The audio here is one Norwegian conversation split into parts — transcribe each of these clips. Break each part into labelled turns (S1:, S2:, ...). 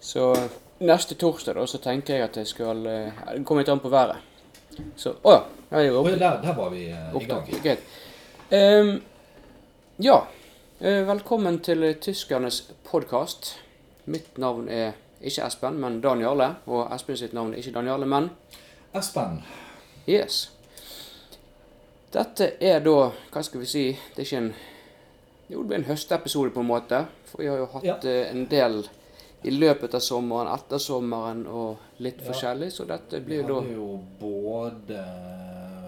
S1: Så neste torsdag da, så tenker jeg at jeg skal eh, Det kommer litt an på været. Så Å ja. ja. Jeg
S2: Og
S1: var
S2: der, der var vi eh, i gang.
S1: opptatt. Greit. Ehm, ja. Eh, velkommen til Tyskernes podkast. Mitt navn er ikke Espen, men Dan Jarle. Og Espen sitt navn er ikke Dan Jarle, men
S2: Espen,
S1: Yes. Dette er da, hva skal vi si, det er ikke en Jo, det blir en høstepisode på en måte. For vi har jo hatt
S2: Ja.
S1: eh, en del i løpet av sommeren, etter sommeren og litt
S2: Ja.
S1: forskjellig, så dette
S2: vi
S1: blir jo da
S2: hadde jo både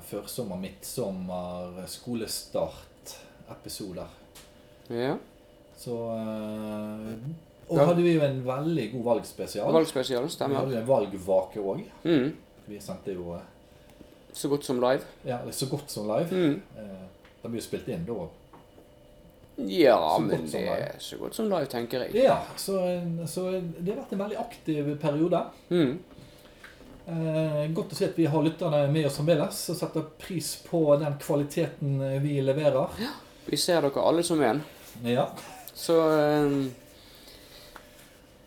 S2: førsommer, midtsommer, skolestart, episoder.
S1: ja,
S2: Så eh, Og
S1: Ja.
S2: hadde vi jo en veldig god valgspesial.
S1: valgspesial.
S2: Vi
S1: Stemmer.
S2: hadde jo en valgvake òg.
S1: Mm,
S2: Vi sendte jo eh,
S1: så godt som live.
S2: ja, så godt som live.
S1: Mm.
S2: Eh, De ble jo spilt inn da.
S1: Ja,
S2: Så godt
S1: men
S2: som
S1: det
S2: live.
S1: er så godt som live, tenker jeg.
S2: Ja, så, så det har vært en veldig aktiv periode.
S1: Mm,
S2: Eh, Godt å se at vi har lytterne med oss fremdeles, og setter pris på den kvaliteten vi leverer.
S1: vi ser dere alle som en.
S2: Ja.
S1: Så eh,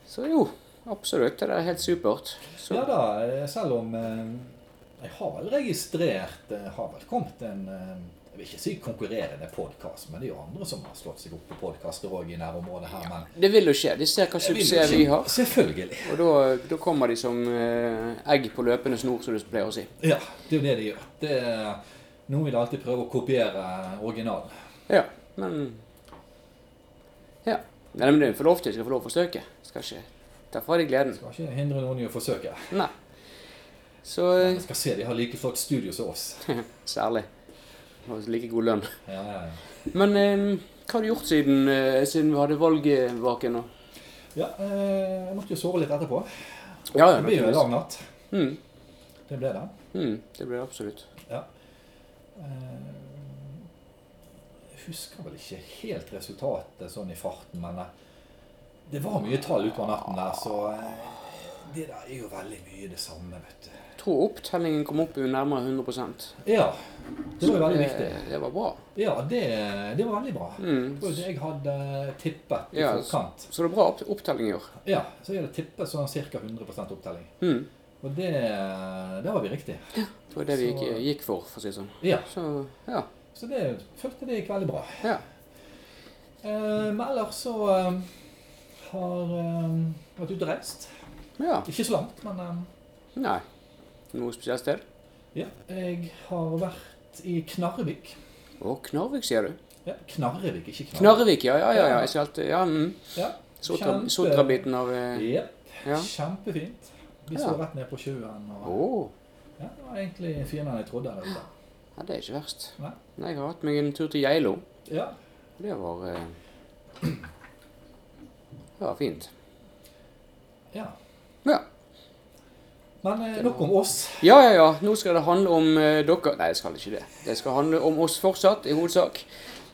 S1: Så jo, absolutt. Det der er helt supert. Så,
S2: Ja da, eh, selv om eh, jeg har vel registrert eh, Har vel kommet en eh, Jeg vil ikke si konkurrerende podkast, men det er jo andre som har slått seg opp på podkaster òg i nærområdet her, men
S1: Det vil jo skje. De ser hva
S2: Jeg vil jo
S1: suksess
S2: ikke-
S1: vi har.
S2: Selvfølgelig.
S1: Og da, da kommer de som eh, egg på løpende snor, som du pleier å si.
S2: Ja, det er jo det de gjør. Det er, noen vil alltid prøve å kopiere originalen.
S1: Ja, men Ja. Nei, men det er for lov til. De skal få lov å forsøke. Skal ikke ta fra deg gleden.
S2: Skal ikke hindre noen i å forsøke.
S1: Nei. Så
S2: Jeg
S1: eh,
S2: skal se, de har like flott studio som oss.
S1: Særlig. Og like god lønn.
S2: Ja, ja, ja.
S1: Men eh, hva har du gjort siden, eh, siden vi hadde valgvaken nå?
S2: Ja, eh, jeg måtte jo sove litt etterpå.
S1: Ja,
S2: Det blir jo en lang natt.
S1: Mm,
S2: Det ble det.
S1: mm, det blir det absolutt.
S2: Eh, Jeg husker vel ikke helt resultatet sånn i farten, men eh, det var mye tall utover natten der, så eh, det der er jo veldig mye det samme, vet du.
S1: Jeg tror opptellingen kom opp i nærmere 100
S2: Ja, det var jo veldig
S1: Så
S2: viktig.
S1: det- Det var bra.
S2: Ja, det, det var veldig bra.
S1: Mm.
S2: Det var jo det jeg hadde tippet i
S1: Ja,
S2: forkant.
S1: Så det er bra opp opptelling i år.
S2: Ja, så jeg hadde tippet sånn ca. 100 opptelling.
S1: Mm.
S2: Og det, eh, det var vi riktig.
S1: Det var det vi
S2: Så-
S1: gikk, gikk for, for å si det sånn.
S2: Ja,
S1: Så ja.
S2: så det følte det gikk veldig bra.
S1: ja.
S2: Eh, men ellers så eh, har eh, vært ute og reist.
S1: Ja.
S2: Ikke så langt, men eh,
S1: Nei. Noe spesielt sted?
S2: ja. Jeg har vært i Knarrevik.
S1: Å, Knarvik, sier du.
S2: Ja, Knarrevik, ikke Knarrevik.
S1: Knarvik, ja. Ja, ja. ja. Jeg ser alltid Ja. Mm.
S2: Ja,
S1: Sotra-
S2: Kjempe-
S1: Sotrabiten av eh,
S2: ja.
S1: Ja.
S2: Kjempefint. Vi
S1: Ja.
S2: så rett ned på sjøen.
S1: Å.
S2: Og, ja, det var egentlig finere enn jeg trodde. Der ute.
S1: Ja, det er ikke verst.
S2: Nei.
S1: Nei, jeg har hatt meg en tur til Geilo.
S2: Ja,
S1: Det var eh, Det var fint.
S2: ja.
S1: Ja.
S2: Men eh, nok om oss.
S1: Ja, ja, ja. Nå skal det handle om eh, dere Nei, det skal ikke det. Det skal handle om oss fortsatt, i hovedsak.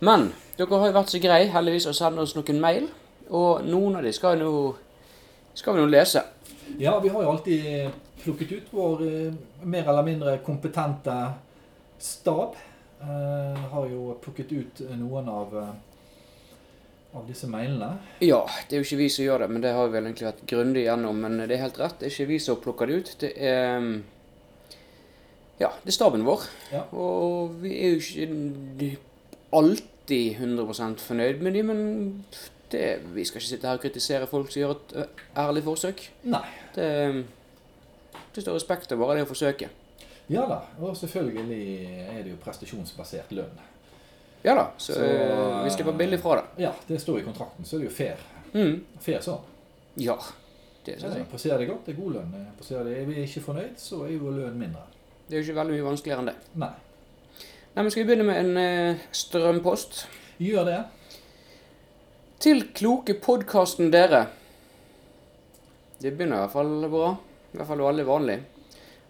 S1: Men dere har jo vært så greie, heldigvis, å sende oss noen mail. Og noen av de skal jo nå skal vi nå lese.
S2: Ja, vi har jo alltid eh, plukket ut vår eh, mer eller mindre kompetente stab. Eh, har jo plukket ut noen av, eh, av disse mailene.
S1: Ja, det er jo ikke vi som gjør det, men det har vi vel egentlig vært grundig gjennom. Men det er helt rett, det er ikke vi som plukker det ut. Det er mm, Ja, det er staben vår.
S2: Ja.
S1: Og vi er jo ikke alltid 100 fornøyd med de, men det, vi skal ikke sitte her og kritisere folk som gjør et ø, ærlig forsøk.
S2: Nei.
S1: Det, det står respekt av bare det å forsøke.
S2: Ja da. Og selvfølgelig er det jo prestasjonsbasert lønn.
S1: Ja da, så,
S2: Så,
S1: eh, vi slipper billig fra det.
S2: Ja, det står i kontrakten, så er det jo fair.
S1: Mm.
S2: Fair sånn.
S1: Ja, det
S2: Ja,
S1: synes jeg.
S2: Passerer det godt, det er god lønn. Eh, Passerer det, er vi ikke fornøyd, så er jo lønnen mindre.
S1: Det er jo ikke veldig mye vanskeligere enn det.
S2: Nei.
S1: Nei, men Skal vi begynne med en eh, strømpost?
S2: Gjør det.
S1: Til kloke podkasten dere. Det begynner i hvert fall bra. I hvert fall veldig vanlig.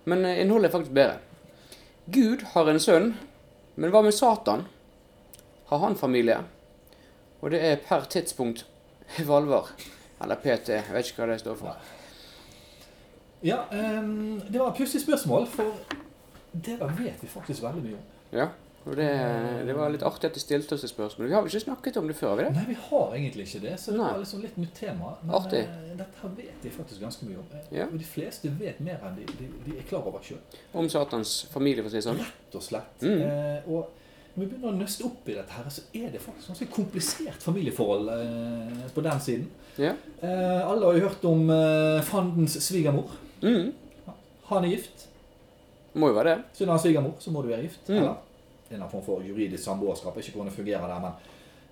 S1: Men eh, innholdet er faktisk bedre. Gud har en sønn, men hva med Satan? Har han familie? Og det er per tidspunkt Valvar. Eller PT, jeg vet ikke hva det står for.
S2: Ja, ehm, eh, det var et pussig spørsmål, for det der vet vi faktisk veldig mye om.
S1: Ja. Og det, det var litt artig at de stilte oss et spørsmål. Vi har vel ikke snakket om det før, har vi det?
S2: Nei, vi har egentlig ikke det, så det
S1: Nei.
S2: var liksom litt nytt tema.
S1: Artig.
S2: eh, dette her vet de faktisk ganske mye om. Eh,
S1: Ja.
S2: Og de fleste vet mer enn de, de, de er klar over sjøl,
S1: Om Satans familie, for å si det sånn.
S2: rett og slett.
S1: Mm.
S2: Eh, og når vi begynner å nøste opp i dette, her, så er det faktisk ganske komplisert familieforhold eh, på den siden.
S1: Ja.
S2: Eh, alle har jo hørt om eh, fandens svigermor.
S1: Mm.
S2: Han er gift.
S1: Må jo være det.
S2: Siden han er svigermor, så må du være gift.
S1: Mm.
S2: Eller en eller annen form for juridisk samboerskap. Ikke hvordan det fungerer der,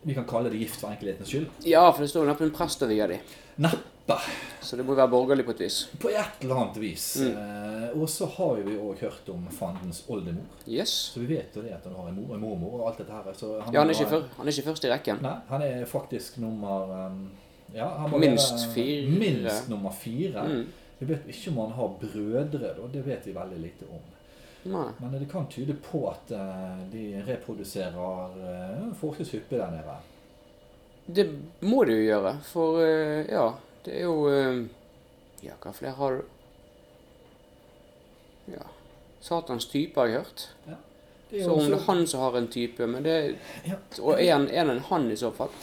S2: men vi kan kalle det gift for enkelhetens skyld.
S1: Ja, for det står jo neppe en prest over de.
S2: Neppe.
S1: Så det må jo være borgerlig på et vis.
S2: På et eller annet vis.
S1: Mm.
S2: Eh, og så har jo vi òg hørt om fandens oldemor.
S1: Yes.
S2: Så vi vet jo det at han har en mor og en mormor og alt dette her. Så
S1: Ja, han
S2: må
S1: er ikke,
S2: være-
S1: før, han er ikke først i rekken.
S2: Nei, han er faktisk nummer um, ja, han må
S1: Minst
S2: være-
S1: fire.
S2: Minst nummer fire.
S1: Mm.
S2: Vi vet ikke om han har brødre, da. Det vet vi veldig lite om.
S1: Nei.
S2: Men det kan tyde på at eh, de reproduserer uh, forholdsvis hyppig der nede.
S1: Det må du jo gjøre, for eh, ja, det er jo eh, Ja, hva flere har du? Ja Satans type har jeg hørt.
S2: Det
S1: Så
S2: er jo
S1: om det
S2: også-
S1: er han som har en type, men det
S2: Ja.
S1: Og er han, er han en han i så fall?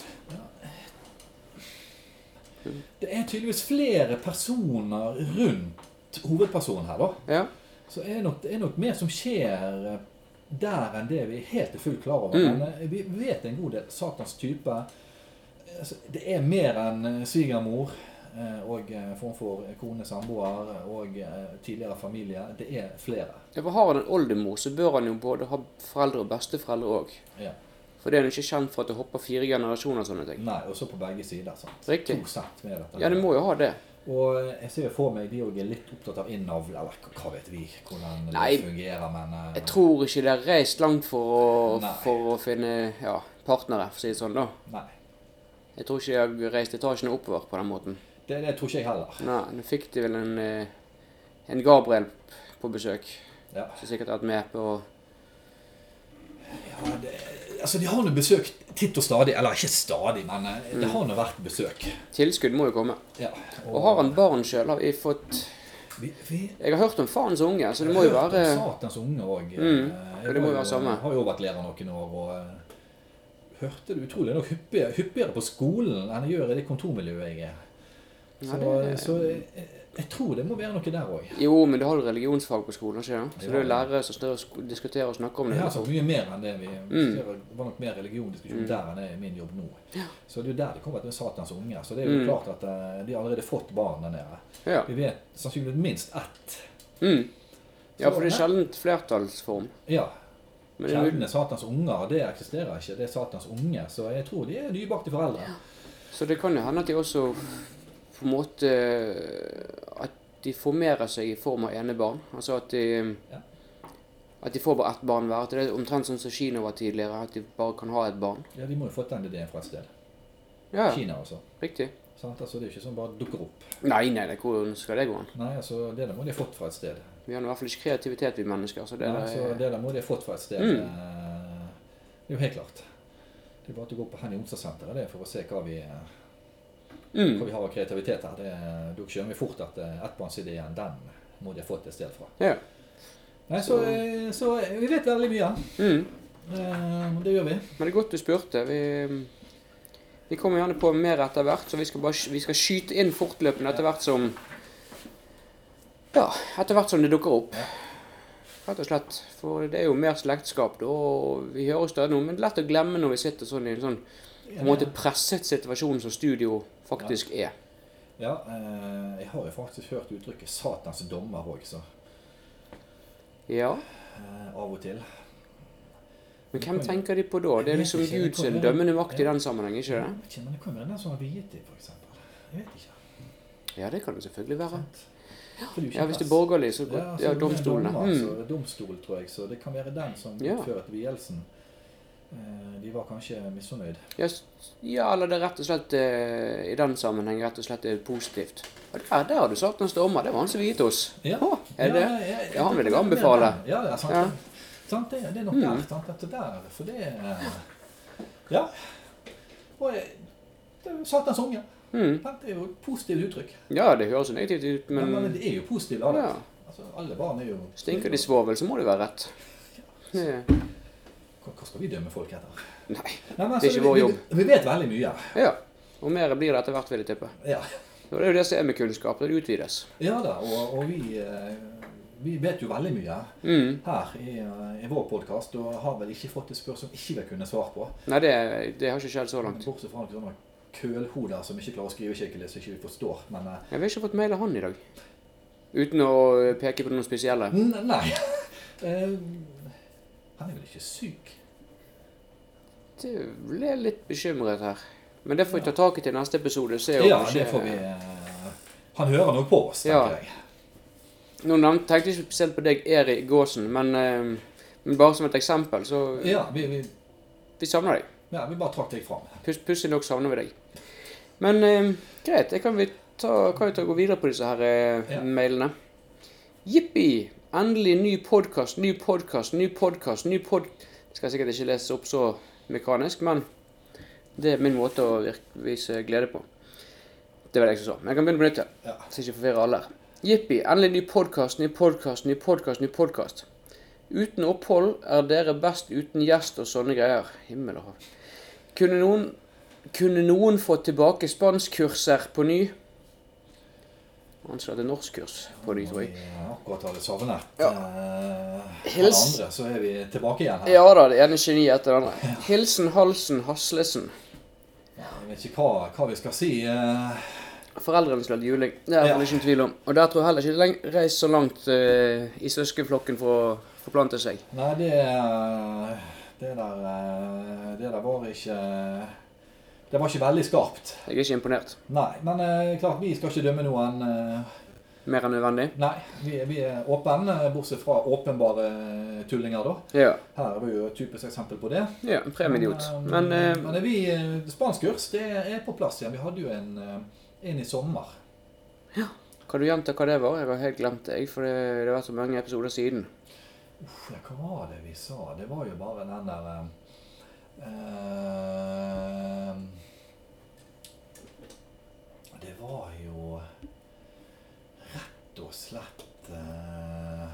S2: det er tydeligvis flere personer rundt hovedpersonen her, da.
S1: Ja.
S2: Så er nok, det er nok mer som skjer eh, der enn det vi er helt til fullt klar over.
S1: Mm.
S2: Men eh, vi vet en god del Satans type. Eh, altså, Det er mer enn eh, svigermor eh, og eh, form for kone, samboer og eh, tidligere familie. Det er flere.
S1: Ja, For har han en oldemor, så bør han jo både ha foreldre og besteforeldre òg.
S2: Ja.
S1: For det er han ikke kjent for at det hopper fire generasjoner og sånne ting.
S2: Nei, også på begge sider. sant?
S1: Riktig.
S2: To sett med dette.
S1: Ja, det må jo ha det.
S2: Og eh, jeg ser jo for meg de òg er litt opptatt av innavl, eller hva- hva vet vi hvordan
S1: Nei,
S2: det fungerer, men eh,
S1: Jeg tror ikke de har reist langt for å,
S2: Nei.
S1: for å finne ja, partnere, for å si det sånn, da.
S2: Nei.
S1: Jeg tror ikke de har reist etasjene oppover på den måten.
S2: Det, det tror ikke jeg heller.
S1: Nei, nå fikk de vel en, eh, en Gabriel på besøk,
S2: Ja.
S1: som sikkert har vært med på
S2: Ja, det, altså, de har nå besøk titt og stadig, eller ikke stadig, men eh, det har nå vært besøk.
S1: Tilskudd må jo komme.
S2: Ja.
S1: Mm. Og har han barn sjøl, har vi fått
S2: Vi, vi
S1: Jeg har hørt om farens unge, så det må jo
S2: hørte om
S1: være
S2: Satans unge òg.
S1: Mm, og det må jo være samme.
S2: Har jo vært lærer noen år og eh, hørte det utrolig nok hyppigere, hyppigere på skolen enn jeg gjør i det kontormiljøet jeg er. Så, eh,
S1: Ja, det-
S2: så jeg, jeg, jeg tror det må være noe der òg.
S1: Jo, men du har jo religionsfag på skolen, ikke sant? Så
S2: Ja.
S1: det er jo lærere som står og sk- diskuterer og snakker om
S2: Det
S1: det.
S2: er altså mye mer enn det vi
S1: Mm.
S2: Det var nok mer religiondiskusjon der enn det er i min jobb nå. Så det er jo der det kommer til Satans unge. Så det er jo
S1: Mm.
S2: klart at eh, de har allerede fått barn der nede.
S1: Ja.
S2: Vi vet sannsynligvis minst ett.
S1: Mm. ja,
S2: Så-
S1: for det er sjelden flertallsform.
S2: Ja.
S1: Men det er mulig.
S2: Kjevne Satans unger, det eksisterer ikke. Det er Satans unge. Så jeg tror de er nybakte foreldre.
S1: Så det kan jo hende at de også på en måte eh, At de formerer seg i form av enebarn. Altså at de
S2: Ja.
S1: At de får bare ett barn hver. At det er omtrent sånn som Kina var tidligere, at de bare kan ha et barn.
S2: Ja, De må jo fått den ideen fra et sted.
S1: Ja, ja.
S2: Kina, altså.
S1: Riktig.
S2: Sant? altså. Det er jo ikke sånn bare dukker opp.
S1: Nei, nei, det, hvordan skal det gå an?
S2: Nei, altså, Det der må de ha fått fra et sted.
S1: Vi har nå i hvert fall ikke kreativitet, vi mennesker. Så det
S2: Nei, så
S1: er
S2: det der må de ha fått fra et sted.
S1: Mm.
S2: eh, Det er jo helt klart. Det er bare å gå på Henny Onsdag-senteret det er for å se hva vi, hva
S1: mm.
S2: vi har av kreativitet her. Det, er- da skjønner vi fort at eh, ettbarnsideen, den må de ha fått et sted fra.
S1: Ja.
S2: Nei, så, eh, så eh, vi vet veldig mye.
S1: Mm.
S2: Eh, Det gjør vi.
S1: Men det er godt du spurte. Vi, vi kommer gjerne på mer etter hvert, så vi skal, bare, sk- vi skal skyte inn fortløpende etter hvert som Ja, etter hvert som det dukker opp. Rett og slett. For det er jo mer slektskap, da, og vi hører stadig noe. Men lett å glemme når vi sitter sånn i en sånn på en måte presset situasjon som studio faktisk er.
S2: Ja, eh, jeg har jo faktisk hørt uttrykket 'Satans dommer' òg, så
S1: Ja.
S2: eh, av og til.
S1: Men hvem tenker de på da? Det er liksom Guds dømmende makt i den sammenheng, ikke
S2: Jeg
S1: det?
S2: vet ikke, men det sånn kan være den som har viet dem, f.eks. Jeg vet ikke.
S1: Ja, det kan det selvfølgelig være.
S2: Sant? For det er jo ikke
S1: Ja, hvis det er
S2: press.
S1: borgerlig, så godt.
S2: så
S1: Ja,
S2: det er
S1: domstolene.
S2: dommer,
S1: Mm.
S2: så domstol, tror jeg. Så det kan være den som
S1: Ja.
S2: utførte vielsen. Eh, De var kanskje misfornøyd.
S1: Ja, s- ja, eller det er rett og slett eh, i den sammenheng rett og slett er positivt. Og der, der har du satt en stormer. Det var han som viet oss.
S2: Ja.
S1: Å, er det?
S2: Ja, ja,
S1: Ja, han vil jeg
S2: det-
S1: anbefale.
S2: Ja, ja, sant.
S1: Ja. Mm.
S2: sant det, det er nok der. Sant, at det der for det eh, Ja. Og eh, det er jo Satans unge.
S1: Mm.
S2: Sant, Det er jo et positivt uttrykk.
S1: Ja, det høres jo negativt ut,
S2: Men, ja, men
S1: men
S2: det er jo positivt. Alle,
S1: ja,
S2: altså, alle barn er jo
S1: stinker de svovel, så må det være rett. Det-
S2: Hva hva skal vi dømme folk etter?
S1: Nei.
S2: Nei, men,
S1: Det er
S2: altså,
S1: ikke vår
S2: vi-
S1: jobb.
S2: Vi, vi vet veldig mye.
S1: Ja. Og mer blir det etter hvert, vil jeg tippe.
S2: Ja,
S1: Og det er jo det som er med kunnskap. Det utvides.
S2: ja da, og, og vi, eh, vi vet jo veldig mye
S1: Mm.
S2: her i, eh, i vår podkast, og har vel ikke fått et spørsmål som ikke vi kunne svare på.
S1: Nei, det, det har ikke skjedd så langt.
S2: Bortsett fra noen sånne kølhoder som ikke klarer å skrive skikkelig, som ikke vi forstår. Men eh,
S1: Jeg har ikke fått mail av han i dag. Uten å eh, peke på noen spesielle.
S2: n- nei. Eh, Han er vel ikke syk?
S1: Det ble jeg litt bekymret her. Men det får vi ta tak i til neste episode. Se om
S2: Ja,
S1: ikke-
S2: det får vi eh, Han hører nok på oss,
S1: Ja.
S2: tenker jeg.
S1: Nå nevnte- tenkte jeg ikke spesielt på deg, Erik Gåsen, men, eh, men bare som et eksempel, så
S2: Ja, vi, vi,
S1: Vi savner deg.
S2: ja, vi bare trakk deg fram.
S1: Pus- Pussig nok savner vi deg. Men eh, greit, jeg kan vi ta, kan vi ta og gå videre på disse her eh,
S2: Ja.
S1: mailene. Jippi! Endelig ny podkast, ny podkast, ny podkast, ny pod... Det skal jeg sikkert ikke lese opp så mekanisk, men det er min måte å virk- vise glede på. Det var det jeg som sa. Men jeg kan begynne på nytt. ja.
S2: Ja.
S1: Så ikke forvirre alle her. Jippi, endelig ny podkast, ny podkast, ny podkast, ny podkast. Uten opphold er dere best uten gjest og sånne greier. Himmel og hav. Kunne noen, kunne noen få tilbake spanskkurser på ny? Anser at det er norskkurs på ny, tror jeg.
S2: Vi eh, akkurat hadde savnet
S1: Ja.
S2: eh, alle
S1: Hils.
S2: andre, så er vi tilbake igjen her.
S1: Ja da, det ene geniet etter det andre. Hilsen Halsen Haslesen.
S2: Jeg vet ikke hva, hva vi skal si. eh,
S1: Foreldrene skulle hatt juling. Det er det
S2: Ja.
S1: ikke noen tvil om. Og der tror jeg heller ikke det leng- reist så langt eh, i søskenflokken for å forplante seg.
S2: nei, det, eh, det der eh, Det der var ikke Det var ikke veldig skarpt.
S1: Jeg er ikke imponert.
S2: Nei, men eh, klart vi skal ikke dømme noen. eh,
S1: Mer enn nødvendig.
S2: Nei, vi, vi er åpne, eh, bortsett fra åpenbare tullinger, da.
S1: Ja.
S2: Her er det jo et typisk eksempel på det.
S1: ja en premieidiot.
S2: eh,
S1: Men eh,
S2: men vi, eh, Spanskkurs det er på plass igjen. Vi hadde jo en, eh, en i sommer.
S1: Kan du gjenta hva det var? Jeg har helt glemt det, jeg, for det, det har vært så mange episoder siden.
S2: Uff, ja, hva var det vi sa? Det var jo bare den der eh, eh, Det var jo rett og slett eh,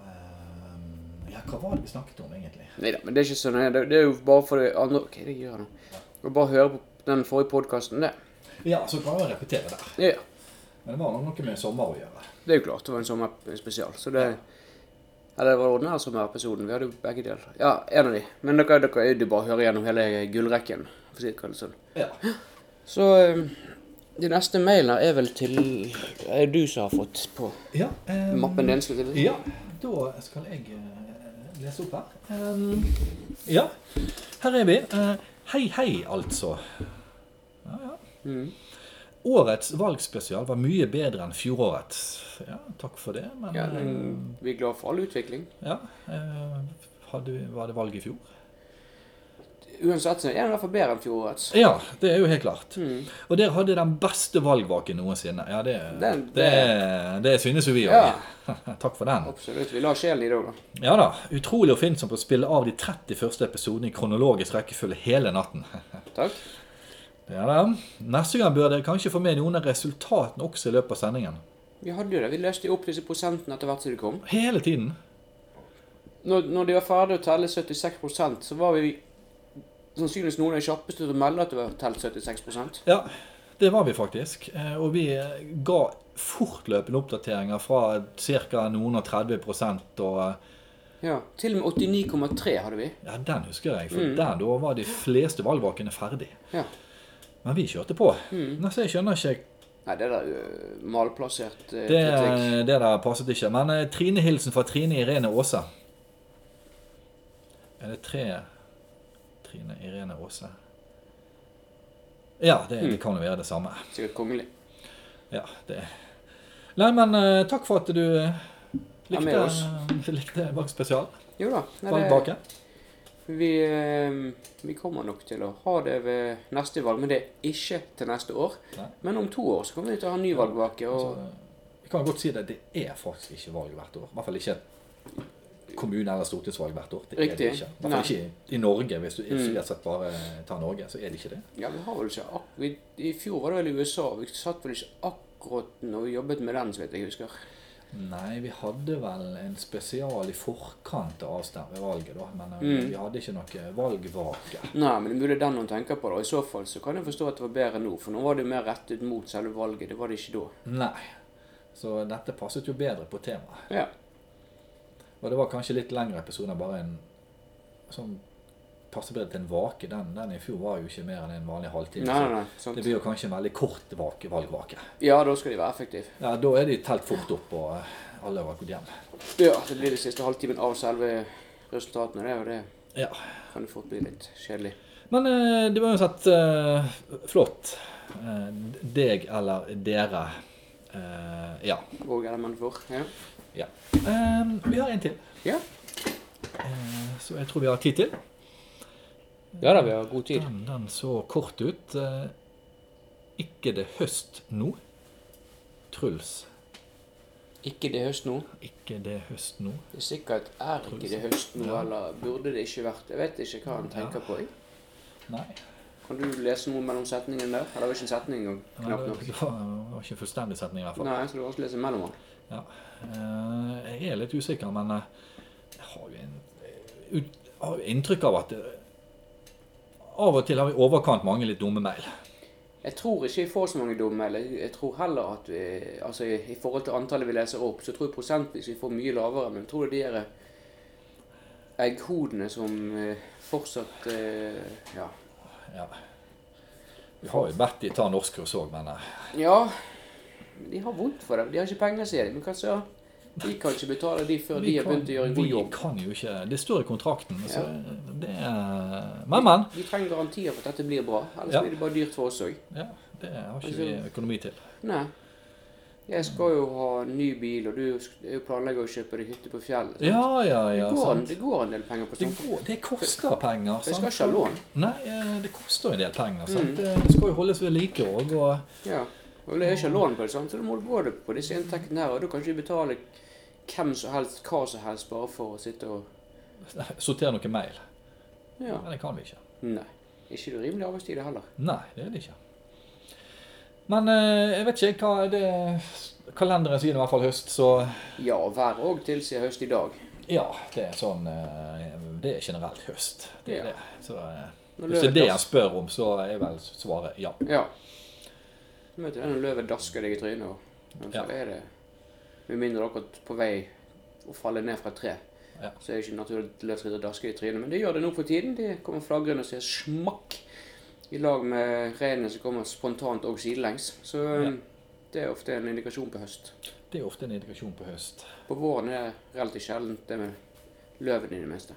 S2: eh, Ja, hva var det vi snakket om, egentlig?
S1: Neida, men det er ikke sånn. Det, det er jo bare for det andre Hva er det jeg gjør nå? Og bare høre på den forrige podkasten, det.
S2: Ja, så kan vi repetere der.
S1: Ja,
S2: Men det var nok noe med sommer å gjøre.
S1: det er jo klart. Det var en sommerspesial. Så det Eller det var den her sommerepisoden. Vi hadde jo begge deler. Ja, en av de. Men dere, dere er jo bare å høre gjennom hele gullrekken, for å si det kalles sånn.
S2: Ja.
S1: Så eh, de neste mailene er vel til Er det du som har fått på
S2: ja eh,
S1: mappen din? skulle jeg til å si?
S2: Ja, da skal jeg eh, lese opp her. Ehm, ja, her er vi. Eh, hei, hei, altså. Ja, ja.
S1: Mhm.
S2: Årets valgspesial var mye bedre enn fjorårets. Ja, takk for det, men
S1: Ja,
S2: eh,
S1: men vi er glad for all utvikling.
S2: ja, eh, hadde, var det valg i fjor?
S1: Uansett så er den i hvert fall bedre enn fjorårets.
S2: Ja, det er jo helt klart.
S1: Mhm.
S2: Og dere hadde den beste valgvaken noensinne. Ja, det, det,
S1: Den-
S2: det, synes jo vi òg.
S1: Ja.
S2: takk for den.
S1: Absolutt. Vi la sjelen i det òg, da.
S2: Ja da. Utrolig oppfinnsom på å spille av de 30 første episodene i kronologisk rekkefølge hele natten.
S1: Takk.
S2: Ja da. Neste gang bør dere kanskje få med noen av resultatene også i løpet av sendingen.
S1: Vi hadde jo det. Vi løste jo opp disse prosentene etter hvert som de kom.
S2: Hele tiden.
S1: Når, når de var ferdig å telle 76 så var vi sannsynligvis noen av de kjappeste til å melde at det var telt 76
S2: Ja, det var vi faktisk. Eh, Og vi eh, ga fortløpende oppdateringer fra ca. noen og 30 prosent, og eh,
S1: Ja. Til og med 89,3 hadde vi.
S2: ja, den husker jeg, for der da var de fleste valgvakene ferdig.
S1: Ja.
S2: Men vi kjørte på. Nei, så jeg skjønner ikke
S1: Nei, det der øh, malplassert øh,
S2: Det,
S1: kritikk.
S2: det der passet ikke. Men eh, Trine hilsen fra Trine Irene Aase. Er det tre Trine Irene Aase? Ja, det,
S1: Hmm.
S2: det kan jo være det samme.
S1: Sikkert kongelig.
S2: Ja, det Nei, men eh, takk for at du eh,
S1: Ja, med
S2: likte,
S1: oss.
S2: likte Bak spesial.
S1: Jo da. Nei,
S2: Bak
S1: det,
S2: bake.
S1: vi, øh, vi kommer nok til å ha det ved neste valg, men det er ikke til neste år.
S2: Nei.
S1: Men om to år så kommer vi til å ha en ny valgvake.
S2: Altså,
S1: Og
S2: Vi kan godt si det. Det er faktisk ikke valg hvert år. I hvert fall ikke kommune- eller stortingsvalg hvert år. Det er
S1: Riktig. Hmm.
S2: det ikke. I hvert fall ikke i- i Norge. Hvis du isolert sett bare tar Norge, så er det ikke det.
S1: Ja, vi har vel ikke ak vi, I fjor var det vel i USA. Vi satt vel ikke akkurat når vi jobbet med den, så vidt jeg husker.
S2: Nei, vi hadde vel en spesial i forkant av stemmevalget, da. Men eh,
S1: Mm.
S2: vi hadde ikke noe valgvake.
S1: Nei, men det er mulig det er den hun tenker på, da. I så fall så kan jeg forstå at det var bedre nå, for nå var det jo mer rettet mot selve valget. Det var det ikke da.
S2: Nei. Så dette passet jo bedre på temaet.
S1: Ja.
S2: Og det var kanskje litt lengre episoder, bare en som passer bedre til en vake. Den, den i fjor var jo ikke mer enn en vanlig halvtime.
S1: Nei,
S2: så
S1: nei, nei.
S2: Det
S1: Sant.
S2: blir jo kanskje en veldig kort vake, valgvake.
S1: Ja, da skal de være effektive.
S2: Ja, Da er de telt fort opp, og eh, alle har gått hjem.
S1: Ja, det blir det siste halvtimen av selve resultatene. Det er jo det.
S2: Ja.
S1: Kan jo fort bli litt kjedelig.
S2: Men eh, det var uansett eh, flott. Eh, deg eller dere. Eh, ja.
S1: Og element for. Ja.
S2: ja. Eh, vi har en til,
S1: ja.
S2: eh, så jeg tror vi har tid til.
S1: Ja da, vi har god tid.
S2: Den, den så kort ut. Eh, ikke det høst nå. Truls.
S1: Ikke det høst nå.
S2: Ikke det høst nå.
S1: Det er sikkert er ikke det høst nå,
S2: Ja.
S1: eller burde det ikke vært. Jeg vet ikke hva han tenker på. jeg.
S2: Nei.
S1: Kan du lese noe mellom setningene der? Eller det var ikke en setning engang.
S2: Nei,
S1: Knapt
S2: Det
S1: nok.
S2: det var, det var ikke en fullstendig setning, i hvert fall.
S1: Nei, så du også lese mellom den.
S2: Ja. Eh, Jeg er litt usikker, men eh, jeg har jo, en, eh, ut- har jo inntrykk av at eh, Av og til har vi i overkant mange litt dumme mail.
S1: Jeg tror ikke jeg får så mange dumme. Eller jeg tror heller at vi, altså i, i forhold til antallet vi leser opp, så tror jeg prosentvis vi får mye lavere. Men jeg tror det er de der egghodene som eh, fortsatt eh, Ja.
S2: Ja. Vi har jo bedt de ta norskkurs òg, men eh,
S1: ja de har vondt for det. De har ikke penger, sier de. Men hva så? Vi kan ikke betale de før de har
S2: kan,
S1: begynt å gjøre en god
S2: vi
S1: jobb.
S2: kan jo ikke Det står i kontrakten. Så det er, men, men.
S1: Vi trenger garantier for at dette blir bra. Ellers
S2: Ja.
S1: blir det bare dyrt for oss òg.
S2: Ja, det har ikke vi
S1: Altså,
S2: økonomi til.
S1: Nei. Jeg skal jo ha ny bil, og du sk- jeg planlegger å kjøpe deg hytte på fjellet. sant?
S2: Ja, ja, ja.
S1: altså, det, går, en-
S2: sant.
S1: det går en del penger på
S2: Det,
S1: sånt.
S2: går, det koster penger.
S1: Jeg skal
S2: sant?
S1: ikke ha Mm. lån.
S2: Nei, eh, det koster en del penger. Sant? Det skal jo holdes ved like òg. Og
S1: Ja. Og jeg har ikke lån på det, sant? så da må du gå det på disse inntektene her. Og da kan ikke vi betale hvem som helst hva som helst bare for å sitte og
S2: sortere noe mail.
S1: Ja.
S2: Men det kan vi ikke.
S1: Nei. Ikke det rimelig arbeidstid heller.
S2: Nei, det er det ikke. Men eh, jeg vet ikke hva er det Kalenderen sier i hvert fall høst, så
S1: Ja, vær òg tilsier høst i dag.
S2: ja, det er sånn eh, Det er generelt høst. Det
S1: Ja.
S2: er det. Så, eh,
S1: Når
S2: hvis det er det
S1: løvet
S2: han spør om, så er vel svaret ja.
S1: das- Ja. Du vet det når løvet dasker deg i trynet, og men så
S2: Ja.
S1: er det Med mindre dere er på vei å falle ned fra et tre,
S2: Ja.
S1: så er det ikke naturlig at løvskritt dasker i trynet. Men det gjør det nå for tiden. De kommer flagrende og sier smakk i lag med reinene som kommer spontant og sidelengs. Så um,
S2: Ja.
S1: det er ofte en indikasjon på høst.
S2: Det er ofte en indikasjon på høst.
S1: På våren er det relativt sjeldent det med løven i det meste.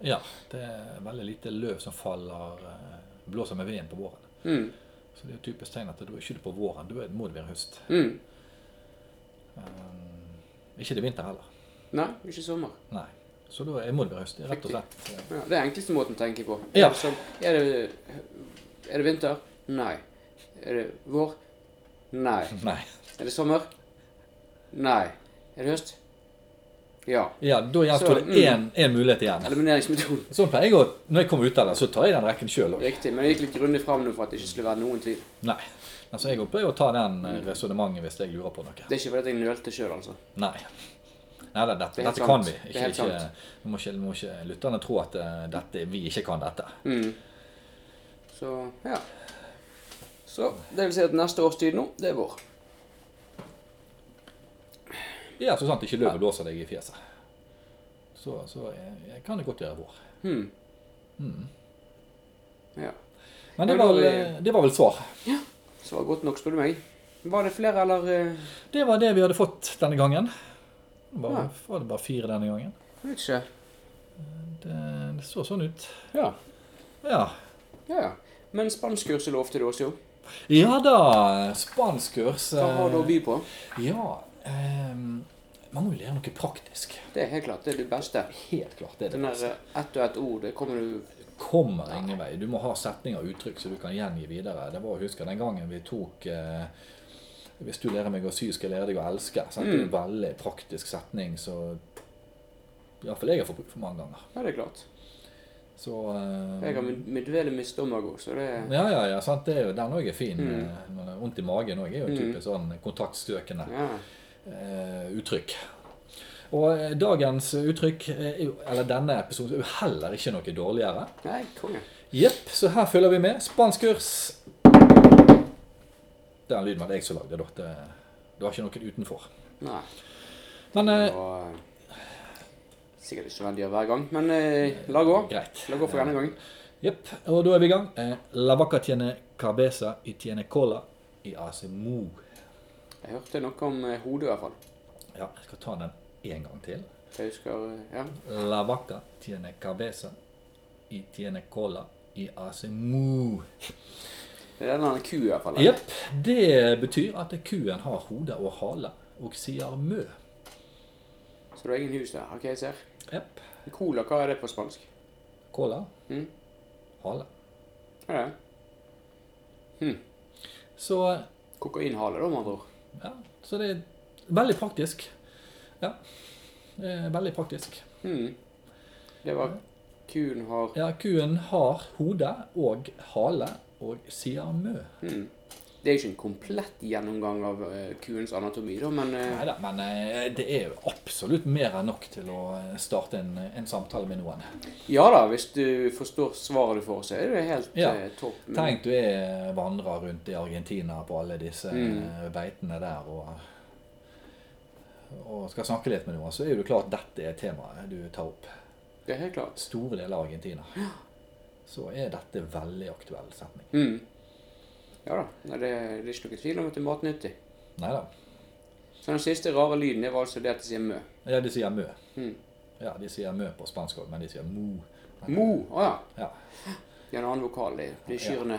S2: Ja, det er veldig lite løv som faller eh, Blåser med veden på våren.
S1: Mm.
S2: Så det er jo typisk tegn at da er ikke det på våren, da er- må det være høst.
S1: Mm.
S2: Eh, ikke det er vinter heller.
S1: Nei, ikke sommer.
S2: Nei. Så da er- må det være høst, rett og slett.
S1: Ja, det er enkleste måten å tenke på.
S2: Ja.
S1: Er, det som, er, det, er det vinter? Nei. Er det vår? Nei.
S2: Nei.
S1: Er det sommer? Nei. Er det høst? Ja.
S2: Ja, da
S1: Så,
S2: gjenstår
S1: mm.
S2: det én én mulighet igjen.
S1: Elimineringsmetoden.
S2: Sånn pleier jeg å Når jeg kommer ut av det, så tar jeg den rekken sjøl òg.
S1: Riktig. Men jeg gikk litt grundig fram nå for at det ikke skulle være noen tvil.
S2: Nei. Altså, jeg pleier å ta den eh,
S1: Mm.
S2: resonnementet hvis jeg lurer på noe.
S1: Det er ikke fordi at jeg nølte sjøl, altså.
S2: Nei. Nei, det, dette,
S1: Det er helt
S2: dette kan
S1: sant.
S2: vi.
S1: Det er
S2: Ikke,
S1: helt
S2: ikke,
S1: sant.
S2: nå må ikke, nå må ikke lytterne tro at eh, dette, vi ikke kan dette.
S1: Mm. Så ja. Så det vil si at neste års tid nå, det er vår.
S2: Ja, så altså sant ikke løvet blåser deg i fjeset. Så, så eh, jeg kan det godt gjøre vår.
S1: Hmm. Ja.
S2: Men det
S1: Men da
S2: var,
S1: vi-
S2: eh, det var vel svar.
S1: Så var det godt nok, spør du meg. Var det flere, eller eh,
S2: Det var det vi hadde fått denne gangen. Bare,
S1: Ja.
S2: Var det bare fire denne gangen?
S1: Jeg vet ikke.
S2: Det, det så sånn ut.
S1: Ja.
S2: Ja.
S1: Ja, ja. Men spanskkurset lovte du også, jo.
S2: Ja da, spanskkurs.
S1: Hva har du å by på?
S2: Ja ehm, Man må jo lære noe praktisk.
S1: Det er helt klart det er det beste.
S2: Helt klart. det er det
S1: Den der
S2: beste.
S1: eh, ett og ett ord, det kommer du
S2: Kommer ingen vei. Du må ha setninger og uttrykk som du kan gjengi videre. Det var, jeg husker den gangen vi tok eh, Hvis du lærer meg å sy, skal jeg lære deg å elske. Sant?
S1: Mm.
S2: Det er en veldig praktisk setning så Iallfall jeg har fått bruk for mange ganger.
S1: Ja, det er klart.
S2: Så
S1: Jeg har
S2: eh,
S1: min- min dvele med stomago, så det
S2: ja, ja, ja,
S1: Mm.
S2: sant? Det er jo, Den òg er fin. eh, Når det er vondt i magen òg er jo typisk sånn kontaktstøkende.
S1: Ja.
S2: eh, uttrykk. Og eh, dagens uttrykk, eh, er jo- eller denne episoden, er jo heller ikke noe dårligere.
S1: Nei, konge.
S2: Jepp, så her følger vi med. Spanskkurs. Det er en lyd med jeg som lagde, da. Det, det var ikke noen utenfor.
S1: Nei.
S2: Men
S1: Det
S2: eh,
S1: var eh, sikkert ikke nødvendig å hver gang, men eh, la gå.
S2: greit.
S1: La gå for denne gangen.
S2: Jepp, og da er vi i gang. Eh, La vaca tiene cabeza y tiene cola i asemu.
S1: Jeg hørte noe om eh, hodet i hvert fall.
S2: Ja, jeg skal ta den en gang til.
S1: Jeg husker eh, Ja.
S2: La vaca tiene cabeza y tiene cola i asemu.
S1: Det er den ku i hvert fall.
S2: Jepp, det betyr at kuen har hode og hale og sier mø.
S1: Så du har ingen hus der. OK, jeg ser.
S2: Jepp.
S1: Cola, hva er det på spansk?
S2: Cola.
S1: Mm.
S2: Hale.
S1: Hva er det?
S2: Så
S1: Kokainhale, da, med andre ord.
S2: Ja, så det er veldig praktisk. Ja, det er veldig praktisk.
S1: Hmm. Det var Kuen har
S2: Ja, kuen har hode og hale og sier mø.
S1: hmm. Det er ikke en komplett gjennomgang av eh, kuens anatomi, da, men eh,
S2: Neida, men eh, det er jo absolutt mer enn nok til å eh, starte en, en samtale med noen.
S1: Ja da, hvis du forstår svaret du får, så er det helt
S2: Ja.
S1: eh, topp. Men-
S2: Tenk du er vandrer rundt i Argentina på alle disse
S1: Mm.
S2: eh, beitene der og, og skal snakke litt med noen, så er jo det klart dette er temaet du tar opp.
S1: Det er helt klart.
S2: Store deler av Argentina. Så er dette veldig aktuell setning.
S1: Hmm. Ja da. Nei, det, det er ikke noe tvil om at det er matnyttig.
S2: Nei da.
S1: Så den siste rare lyden, det var altså det at de sier mø.
S2: Ja, de sier mø.
S1: Mm.
S2: Ja, de sier mø på spansk òg, men de sier mo.
S1: Mo. Å ja.
S2: Ja.
S1: De har en annen vokal i de kyrne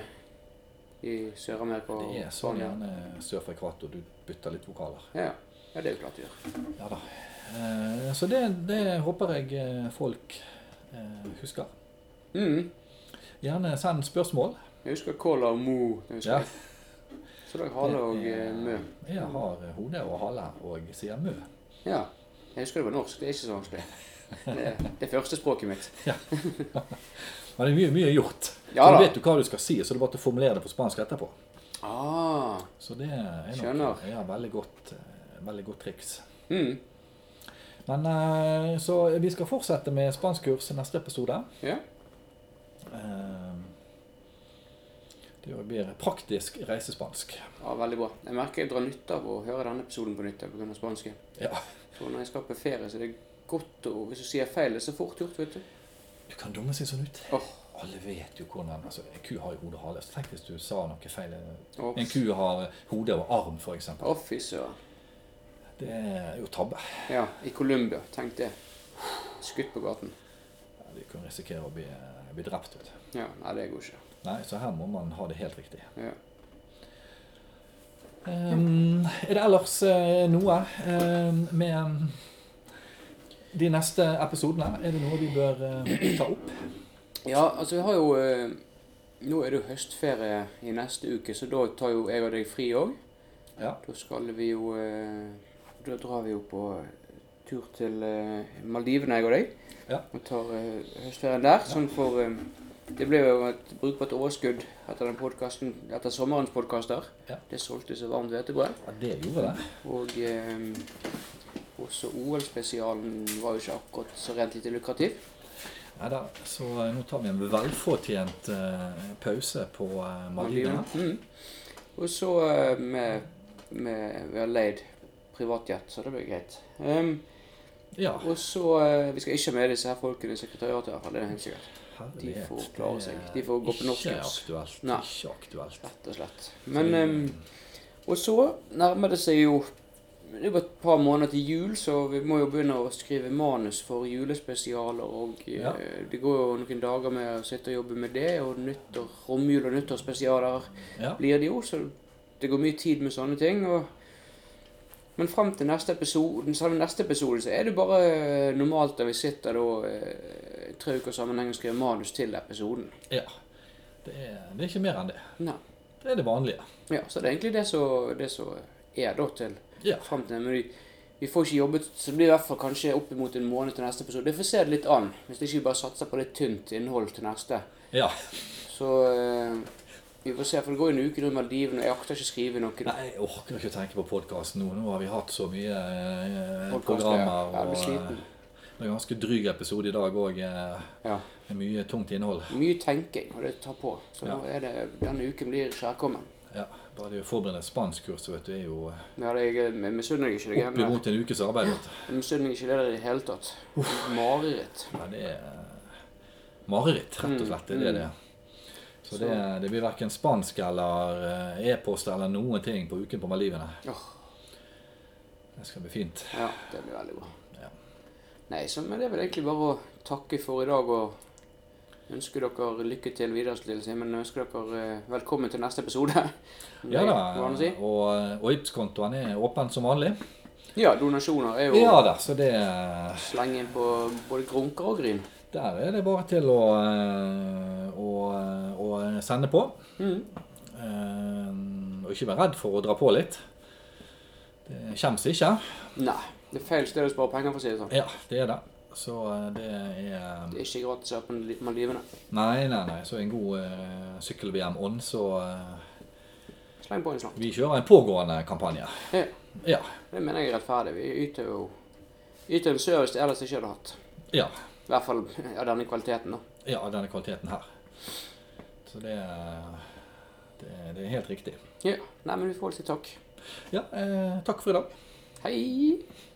S1: i Sør-Amerika og
S2: Det er sånn gjerne sør for ekvator. Du bytter litt vokaler.
S1: Ja, ja. ja, det er jo klart de gjør.
S2: Ja da. Eh, Så det, det håper jeg eh, folk eh, husker.
S1: Mm.
S2: Gjerne send spørsmål.
S1: Jeg husker Cola og Mo. Jeg husker.
S2: Ja.
S1: jeg. Så da er Hale og eh, Mø.
S2: Jeg har hode og hale og sier mø.
S1: Ja. Jeg husker det var norsk. Det er ikke så vanskelig. Det, det er førstespråket mitt.
S2: Men det er mye, mye gjort.
S1: Ja
S2: så
S1: da.
S2: da vet du hva du skal si, så det er bare til å formulere det på spansk etterpå.
S1: Ah.
S2: Så det er nok
S1: Skjønner.
S2: ja, veldig, godt, eh, veldig godt triks.
S1: Mm.
S2: Men eh, så vi skal fortsette med spanskkurs i neste episode.
S1: Ja.
S2: Eh, Det gjør- blir praktisk reisespansk.
S1: ja, veldig bra. Jeg merker jeg drar nytte av å høre denne episoden på nytt pga. spansken.
S2: Ja.
S1: For når jeg skal på ferie, så er det godt å Hvis du sier feil, det er så fort gjort, vet du.
S2: Du kan dumme seg sånn ut.
S1: Åh,
S2: Alle vet jo hvordan altså, En ku har jo hode og hale. Så tenk hvis du sa noe feil.
S1: åh,
S2: En ku har hode og arm, f.eks.
S1: Åh, fy søren.
S2: Det er jo tabbe.
S1: Ja, i Colombia. Tenk det. Skutt på gaten.
S2: Ja, Du kan risikere å bli, eh, bli drept. Vet. du.
S1: Ja, Nei, det går ikke.
S2: Nei, så her må man ha det helt riktig.
S1: Ja.
S2: Ehm, er det ellers eh, noe ehm, med ehm, de neste episodene? Er det noe vi bør eh, ta opp?
S1: Ja, altså vi har jo eh, Nå er det jo høstferie i neste uke, så da tar jo jeg og deg fri òg.
S2: Ja.
S1: Da skal vi jo eh, Da drar vi jo på tur til eh, Maldivene, jeg og deg.
S2: Ja.
S1: Og tar eh, høstferien der. Sånn for eh, Det ble jo et brukbart overskudd etter den podcasten, etter sommerens podkaster.
S2: Ja.
S1: Det solgte så varmt hvetebrød.
S2: Ja, det gjorde det.
S1: Og eh, også OL-spesialen var jo ikke akkurat så rent lite lukrativ.
S2: Neida, så eh, nå tar vi en velfortjent eh, pause på eh, Maldivene.
S1: Mm. Og så eh, med, med Vi har leid privatjet, så det blir greit. Ehm,
S2: Ja,
S1: og så eh, Vi skal ikke ha med disse her folkene i sekretariatet, i hvert fall. Det er helt sikkert.
S2: herlighet.
S1: De får klare seg.
S2: Det er
S1: De får gå på
S2: Ikke
S1: norskkurs.
S2: aktuelt.
S1: Nei.
S2: Ikke aktuelt.
S1: Rett og slett. Men ehm, Og så nærmer det seg jo det er jo et par måneder til jul, så vi må jo begynne å skrive manus for julespesialer. og eh,
S2: Ja.
S1: Det går jo noen dager med å sitte og jobbe med det, og nyttår, romjul og nyttårsspesialer.
S2: Ja,
S1: blir det jo, så det går mye tid med sånne ting. Og... Men frem til neste episode, selve neste episode så er det bare eh, normalt at vi sitter da eh, tre uker sammenheng og skriver manus til episoden.
S2: ja. Det, er, det er ikke mer enn det.
S1: Nei.
S2: Det er det vanlige.
S1: Ja, Så det er egentlig det som det som er da til
S2: Ja.
S1: frem til Men vi, vi får ikke jobbet, så det blir i hvert fall kanskje oppimot en måned til neste episode. Det får se det litt an, hvis ikke vi bare satser på litt tynt innhold til neste.
S2: ja.
S1: Så eh, Vi får se, for det går jo en uke nå i Maldivene, og jeg akter ikke å skrive noe.
S2: Nei, jeg orker ikke å tenke på podkasten nå. Nå har vi hatt så mye eh,
S1: Podcast,
S2: programmer.
S1: ja. Ja, jeg blir
S2: og,
S1: sliten.
S2: eh, det er en ganske dryg episode i dag òg. Eh,
S1: Ja.
S2: med mye tungt innhold.
S1: Mye tenking, og det tar på. Så nå er det, denne uken blir kjærkommen.
S2: Ja, bare det å forberede spanskkurs vet du, er jo eh,
S1: Ja, det er, jeg misunner deg ikke det
S2: opp
S1: greiene der.
S2: imot en ukes arbeid. Vet du.
S1: Jeg misunner deg ikke det der i det hele tatt. Mareritt.
S2: Ja, det er eh, mareritt, rett og slett. Det
S1: Mm,
S2: er det det er. Så det, det blir verken spansk eller eh, e-post eller noen ting på uken på Malivene.
S1: Åh,
S2: Det skal bli fint.
S1: ja, det blir veldig bra.
S2: Ja.
S1: Nei, så men det er vel egentlig bare å takke for i dag og ønske dere lykke til videre, Lille Simen. Ønsker dere eh, velkommen til neste episode.
S2: Ja da,
S1: Hva han
S2: og,
S1: si?
S2: eh, og Ibs-kontoen er åpen som vanlig.
S1: Ja, donasjoner er jo
S2: Ja da, så det eh,
S1: sleng inn på både grunker og gryn.
S2: Der er det bare til å, eh, å, å sende på.
S1: Mm.
S2: Eh, Og ikke være redd for å dra på litt. Det kommer seg ikke.
S1: Nei, det er feil sted å spare penger, for å si det sånn.
S2: Ja, det er det. Så eh, det er eh,
S1: Det er ikke gratis å åpne Maldivene.
S2: Nei, nei, nei. Så en god eh, sykkel-VM-ånd, så eh,
S1: Sleng på en slant.
S2: vi kjører en pågående kampanje.
S1: Ja,
S2: Ja.
S1: det mener jeg er rettferdig. Vi yter jo yter en service de ellers ikke hadde hatt.
S2: Ja.
S1: I hvert fall av denne kvaliteten, da.
S2: ja denne kvaliteten her. Så det, er- det, er- det er helt riktig.
S1: Ja. Nei, men vi får vel si takk.
S2: Ja, eh, takk for i dag.
S1: Hei!